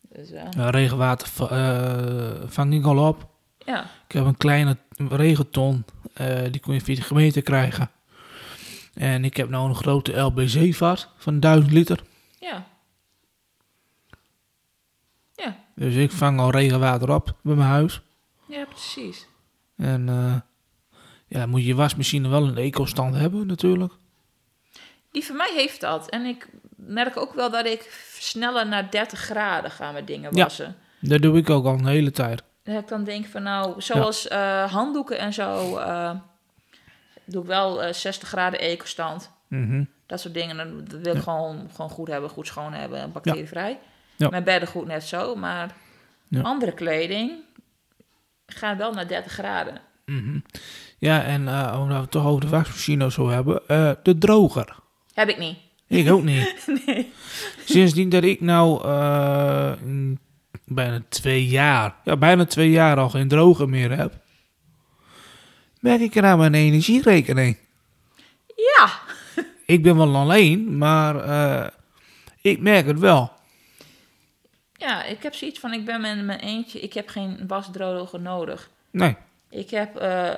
Speaker 2: Dus eh,
Speaker 1: Ja, regenwater va- eh, vang ik al op.
Speaker 2: ja.
Speaker 1: Ik heb een kleine regenton. eh, die kon je via de gemeente krijgen. En ik heb nou een grote LBC-vat van 1000 liter.
Speaker 2: Ja. Ja.
Speaker 1: Dus ik vang al regenwater op bij mijn huis.
Speaker 2: Ja, precies.
Speaker 1: En eh, ja, dan moet je je wasmachine wel een eco-stand hebben natuurlijk.
Speaker 2: Die van mij heeft dat. En ik merk ook wel dat ik sneller naar 30 graden ga met dingen
Speaker 1: Ja.
Speaker 2: wassen.
Speaker 1: Dat doe ik ook al een hele tijd.
Speaker 2: Dat ik dan denk van nou, zoals eh, handdoeken en zo, eh, doe ik wel eh, 60 graden ecostand.
Speaker 1: Mhm.
Speaker 2: Dat soort dingen, dan dat wil ik gewoon, gewoon goed hebben, goed schoon hebben, en bacterievrij.
Speaker 1: Ja.
Speaker 2: Mijn beddengoed net zo, maar
Speaker 1: Ja.
Speaker 2: andere kleding gaat wel naar 30 graden.
Speaker 1: mhm. Ja, en eh, omdat we het toch over de wasmachine zo hebben. eh, de droger.
Speaker 2: Heb ik niet.
Speaker 1: Ik ook niet.
Speaker 2: <laughs> Nee.
Speaker 1: Sindsdien dat ik nou eh, mm, bijna twee jaar, ja, bijna twee jaar al geen droger meer heb, merk ik er aan mijn energierekening.
Speaker 2: Ja.
Speaker 1: Ik ben wel alleen, maar eh, ik merk het wel.
Speaker 2: Ja, ik heb zoiets van, ik ben met mijn eentje, ik heb geen wasdroger nodig.
Speaker 1: Nee,
Speaker 2: Ik heb, eh,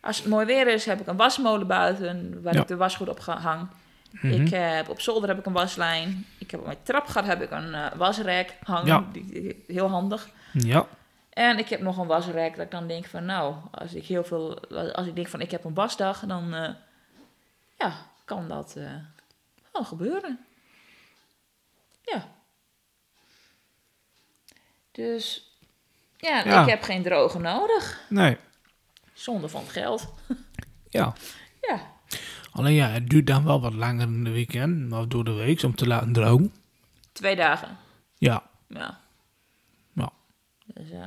Speaker 2: als het mooi weer is, heb ik een wasmolen buiten waar
Speaker 1: Ja.
Speaker 2: ik de wasgoed op ga- hang.
Speaker 1: Mhm.
Speaker 2: Ik heb, op zolder heb ik een waslijn. Ik heb op mijn trapgat heb ik een eh, wasrek hangen.
Speaker 1: Ja.
Speaker 2: Die- die- heel handig.
Speaker 1: ja,
Speaker 2: En ik heb nog een wasrek dat ik dan denk van, nou, als ik heel veel, als ik denk van, ik heb een wasdag, dan, eh, ja, kan dat eh, wel gebeuren. Ja. Dus, ja,
Speaker 1: Ja.
Speaker 2: ik heb geen droge nodig.
Speaker 1: nee,
Speaker 2: Zonde van het geld.
Speaker 1: ja.
Speaker 2: Ja.
Speaker 1: Alleen ja, het duurt dan wel wat langer in de weekend of door de week om te laten drogen.
Speaker 2: Twee dagen.
Speaker 1: Ja,
Speaker 2: Ja.
Speaker 1: ja.
Speaker 2: Dus, eh,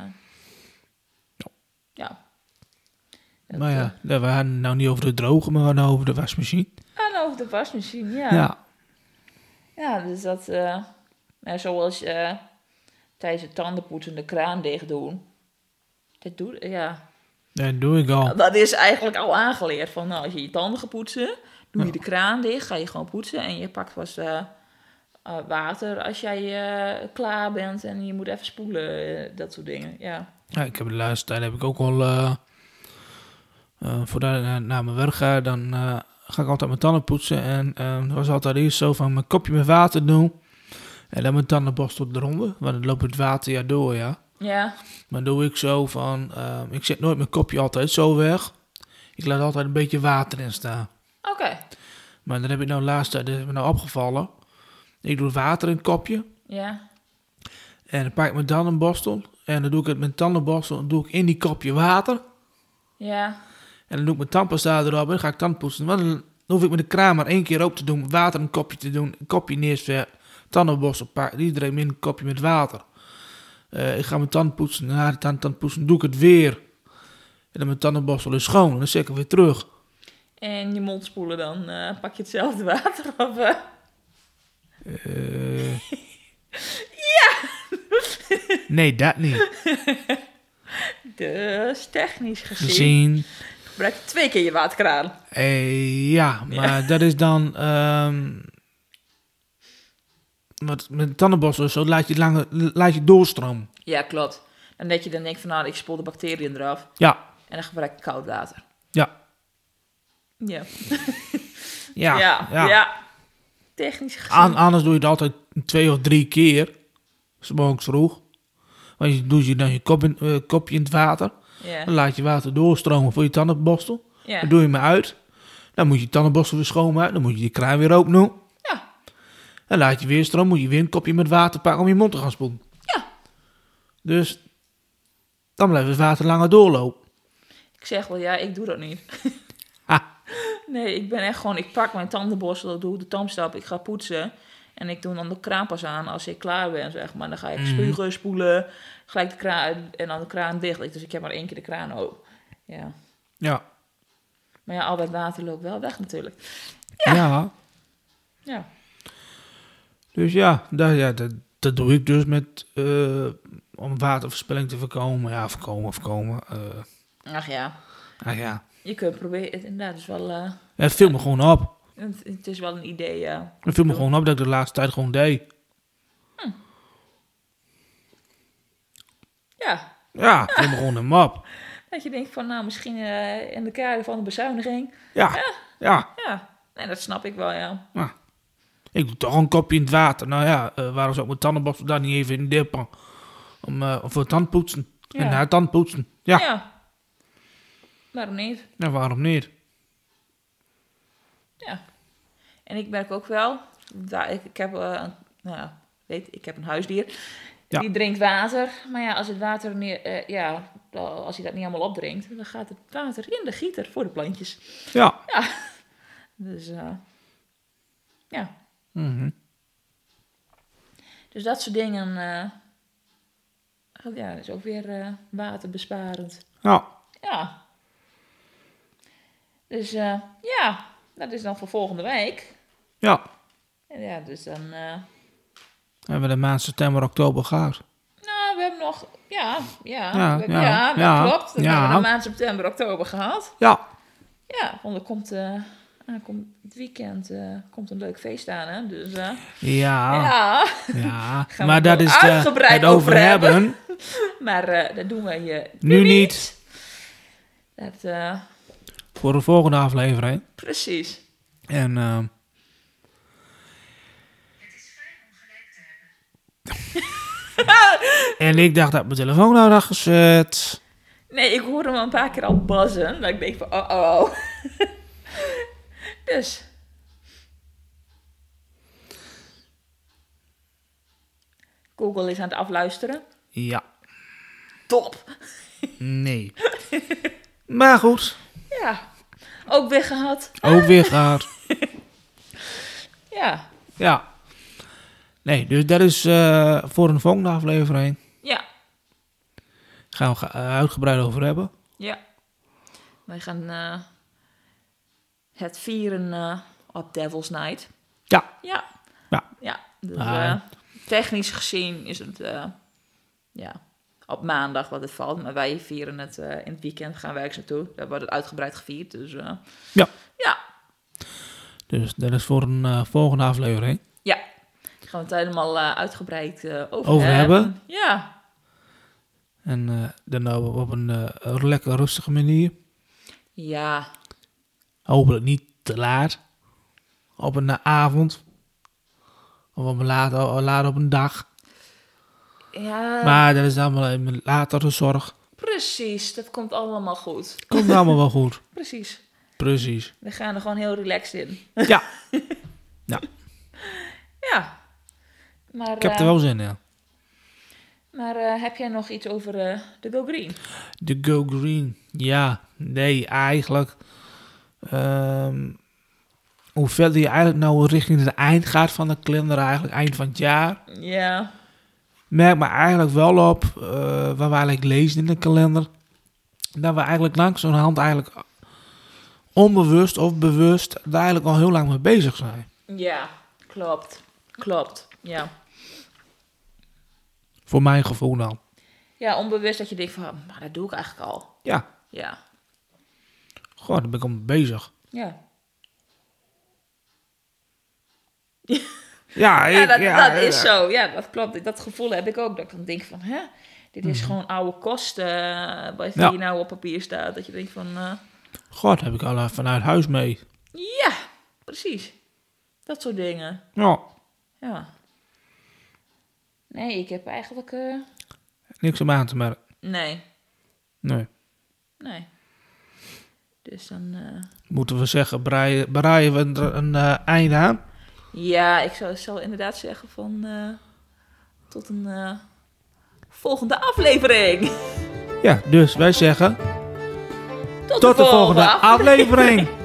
Speaker 1: Ja.
Speaker 2: Ja. Dat,
Speaker 1: Maar
Speaker 2: eh,
Speaker 1: ja, we hadden het nou niet over de droger, maar we hadden het over de wasmachine.
Speaker 2: En over eh, de wasmachine, ja. Ja,
Speaker 1: Ja,
Speaker 2: dus dat... eh, nou, zoals eh, tijdens het tandenpoetsen de kraan dicht doen. Dat doe, ja.
Speaker 1: dat doe ik al.
Speaker 2: Dat is eigenlijk al aangeleerd. Van, nou, als je je tanden gaat poetsen, doe je de kraan dicht, ga je gewoon poetsen. En je pakt vast eh, eh, water als jij eh, klaar bent en je moet even spoelen. eh, dat soort dingen, ja.
Speaker 1: Ja, ik heb de laatste tijd heb ik ook wel. eh, eh, voordat ik naar, naar mijn werk ga, dan eh, ga ik altijd mijn tanden poetsen. En eh, dat was altijd eerst zo van mijn kopje met water doen. En dan mijn tandenborstel eronder. Want dan loopt het water ja door, ja.
Speaker 2: Ja,
Speaker 1: Maar doe ik zo van. eh, ik zet nooit mijn kopje altijd zo weg. Ik laat altijd een beetje water in staan.
Speaker 2: oké.
Speaker 1: Maar dan heb ik nou laatst, dat is me nou opgevallen. Ik doe water in het kopje.
Speaker 2: Ja,
Speaker 1: En dan pak ik mijn tandenborstel. En dan doe ik het met tandenborstel. Dan doe ik in die kopje water.
Speaker 2: ja.
Speaker 1: En dan doe ik mijn tandpasta erop en dan ga ik tandpoetsen. Want dan hoef ik met de kraan maar één keer open te doen, water een kopje te doen, een kopje neerzetten, tandenborstel pakken, iedereen in een kopje met water. Eh, ik ga mijn tand poetsen, na de tand, tand poetsen, doe ik het weer. En dan mijn tandenborstel is schoon en dan zet ik hem weer terug.
Speaker 2: En je mond spoelen dan, eh, pak je hetzelfde <laughs> water op. eh.
Speaker 1: Eh. Nee, dat niet.
Speaker 2: Dus technisch gezien
Speaker 1: Gezien.
Speaker 2: gebruik je twee keer je waterkraan.
Speaker 1: Eh, ja, maar dat is dan. ehm, wat met de tandenborstel of zo laat je, het langer, laat je doorstromen.
Speaker 2: Ja, klopt. En dat je dan denkt van, nou, ik spoel de bacteriën eraf.
Speaker 1: Ja,
Speaker 2: En dan gebruik ik koud water.
Speaker 1: ja,
Speaker 2: Ja.
Speaker 1: ja.
Speaker 2: ja.
Speaker 1: ja,
Speaker 2: ja. Technisch gezien.
Speaker 1: An- anders doe je het altijd twee of drie keer. 's morgens vroeg. Want je doet je dan je kop in, eh, kopje in het water. Dan
Speaker 2: ja.
Speaker 1: laat je water doorstromen voor je tandenborstel.
Speaker 2: Ja.
Speaker 1: Dan doe je hem uit. Dan moet je tandenborstel weer schoonmaken. Dan moet je die kraan weer open doen.
Speaker 2: Ja.
Speaker 1: Dan laat je weer stromen. Moet je weer een kopje met water pakken om je mond te gaan spoelen.
Speaker 2: Ja.
Speaker 1: Dus dan blijft het water langer doorlopen.
Speaker 2: Ik zeg wel, ja, ik doe dat niet.
Speaker 1: Ha.
Speaker 2: Nee, ik ben echt gewoon, ik pak mijn tandenborstel, doe de tandstap, ik ga poetsen. En ik doe dan de kraan pas aan als ik klaar ben, zeg maar. Dan ga ik spugen, spoelen, gelijk de kraan uit en dan de kraan dicht. Dus ik heb maar één keer de kraan open. Ja.
Speaker 1: Ja.
Speaker 2: Maar ja, al dat water loopt wel weg natuurlijk.
Speaker 1: Ja.
Speaker 2: Ja.
Speaker 1: Dus ja, dat, ja dat, dat doe ik dus met, eh, om waterverspilling te voorkomen. Ja, voorkomen, voorkomen. eh
Speaker 2: Ach ja,
Speaker 1: nou ja,
Speaker 2: je kunt proberen, het inderdaad is wel, eh,
Speaker 1: het viel me gewoon op.
Speaker 2: het, het is wel een idee, ja.
Speaker 1: Het viel me gewoon op dat ik de laatste tijd gewoon deed.
Speaker 2: Ja,
Speaker 1: Ja, het viel me gewoon hem op.
Speaker 2: dat je denkt van, nou, misschien eh, in de kader van de bezuiniging.
Speaker 1: Ja, ja.
Speaker 2: Ja, nee, dat snap ik wel, ja.
Speaker 1: Nou, ik doe toch een kopje in het water. Nou ja, eh, waarom zou ik mijn tandenborstel daar niet even in dippen? Om, eh, voor tandpoetsen.
Speaker 2: Ja.
Speaker 1: En na tandpoetsen. Ja, ja.
Speaker 2: Waarom niet?
Speaker 1: waarom niet?
Speaker 2: Ja. En ik merk ook wel, daar- ik, ik heb, eh, een, nou ja, weet, ik heb een huisdier.
Speaker 1: Ja.
Speaker 2: Die drinkt water. Maar ja, als het water niet, eh, ja, als hij dat niet allemaal opdrinkt, dan gaat het water in de gieter voor de plantjes.
Speaker 1: Ja.
Speaker 2: Dus eh, ja,
Speaker 1: Mhm.
Speaker 2: dus dat soort dingen. eh, oh ja, dat is ook weer eh, waterbesparend.
Speaker 1: Ja.
Speaker 2: Ja. Dus eh, ja, dat is dan voor volgende week.
Speaker 1: Ja.
Speaker 2: En ja, dus dan... eh,
Speaker 1: Hebben we de maand september, oktober gehad.
Speaker 2: nou, we hebben nog... Ja, ja,
Speaker 1: Ja,
Speaker 2: we-
Speaker 1: ja,
Speaker 2: ja, dat
Speaker 1: ja,
Speaker 2: klopt. Dat
Speaker 1: ja.
Speaker 2: hebben we de maand september, oktober gehad.
Speaker 1: Ja.
Speaker 2: Ja, want er komt... eh, aankomt het weekend eh, komt een leuk feest aan, hè? Dus
Speaker 1: Ah.
Speaker 2: eh,
Speaker 1: Ja.
Speaker 2: ja, <laughs>
Speaker 1: <laughs> Ja.
Speaker 2: we
Speaker 1: Maar
Speaker 2: het
Speaker 1: dat
Speaker 2: wel
Speaker 1: is de,
Speaker 2: uitgebreid
Speaker 1: het over
Speaker 2: over hebben.
Speaker 1: hebben.
Speaker 2: maar eh, dat doen we je
Speaker 1: Nu niet.
Speaker 2: Dat, eh,
Speaker 1: Voor de volgende aflevering.
Speaker 2: precies.
Speaker 1: En ehm, <laughs> en ik dacht dat mijn telefoon nou had gezet.
Speaker 2: Nee, ik hoorde hem al een paar keer al buzzen. Dat ik denk van, oh, oh, oh. <laughs> dus. Google is aan het afluisteren.
Speaker 1: Ja.
Speaker 2: Top.
Speaker 1: <laughs> Nee. maar goed.
Speaker 2: Ja. Ook weer gehad.
Speaker 1: Ook weer gehad.
Speaker 2: Ja.
Speaker 1: Ja. Nee, dus dat is eh, voor een volgende aflevering.
Speaker 2: Ja.
Speaker 1: Gaan we ge- eh, uitgebreid over hebben.
Speaker 2: Ja. Wij gaan eh, het vieren eh, op Devil's Night.
Speaker 1: Ja.
Speaker 2: Ja.
Speaker 1: Ja.
Speaker 2: Ja. Dus,
Speaker 1: Ah.
Speaker 2: eh, technisch gezien is het eh, ja, op maandag wat het valt. Maar wij vieren het eh, in het weekend. Gaan wij ergens naartoe. Daar wordt het uitgebreid gevierd. Dus eh,
Speaker 1: Ja.
Speaker 2: ja.
Speaker 1: Dus dat is voor een eh, volgende aflevering.
Speaker 2: Ja. Daar gaan we het helemaal eh, uitgebreid eh, over,
Speaker 1: Over hebben.
Speaker 2: Ja.
Speaker 1: En eh, dan nou op een eh, lekker rustige manier.
Speaker 2: Ja.
Speaker 1: Hopelijk niet te laat. Op een eh, avond. Of op een laat, eh, laat op een dag.
Speaker 2: Ja.
Speaker 1: Maar dat is allemaal een latere zorg.
Speaker 2: Precies. Dat komt allemaal goed.
Speaker 1: Komt allemaal wel goed.
Speaker 2: Precies.
Speaker 1: Precies.
Speaker 2: We gaan er gewoon heel relaxed in.
Speaker 1: Ja,
Speaker 2: Ja. Maar,
Speaker 1: ik heb
Speaker 2: eh,
Speaker 1: er wel zin in.
Speaker 2: maar eh, heb jij nog iets over eh, de Go Green?
Speaker 1: De Go Green. Ja, nee, eigenlijk. ehm, hoe verder je eigenlijk nou richting het eind gaat van de kalender, eigenlijk eind van het jaar.
Speaker 2: Ja.
Speaker 1: Merk me eigenlijk wel op, eh wat we eigenlijk lezen in de kalender. Dat we eigenlijk langzamerhand eigenlijk onbewust of bewust daar eigenlijk al heel lang mee bezig zijn.
Speaker 2: Ja. Klopt. Klopt. Ja.
Speaker 1: Voor mijn gevoel dan.
Speaker 2: Ja, onbewust dat je denkt van, "Ah, maar dat doe ik eigenlijk al.
Speaker 1: Ja,
Speaker 2: Ja.
Speaker 1: goh, daar ben ik al mee bezig.
Speaker 2: Ja.
Speaker 1: Ja, ik-
Speaker 2: Ja, dat, dat
Speaker 1: ja,
Speaker 2: is zo. Ja, dat klopt. Dat gevoel heb ik ook. Dat ik dan denk van, hè? Dit is gewoon oude kosten eh, wat
Speaker 1: Mhm. Ja.
Speaker 2: hier nou op papier staat. Dat je denkt van, eh,
Speaker 1: God, daar heb ik al eh, vanuit huis mee.
Speaker 2: ja, precies. Dat soort dingen.
Speaker 1: Ja,
Speaker 2: Ja. Nee, ik heb eigenlijk... eh,
Speaker 1: niks om aan te merken.
Speaker 2: nee,
Speaker 1: Nee.
Speaker 2: nee. Dus dan... eh,
Speaker 1: moeten we zeggen, breien, breien we er een eh, einde aan.
Speaker 2: ja, ik zou, zou inderdaad zeggen van... eh, tot een eh, volgende aflevering.
Speaker 1: Ja, dus wij zeggen
Speaker 2: Tot,
Speaker 1: tot de volgende
Speaker 2: aflevering.
Speaker 1: aflevering.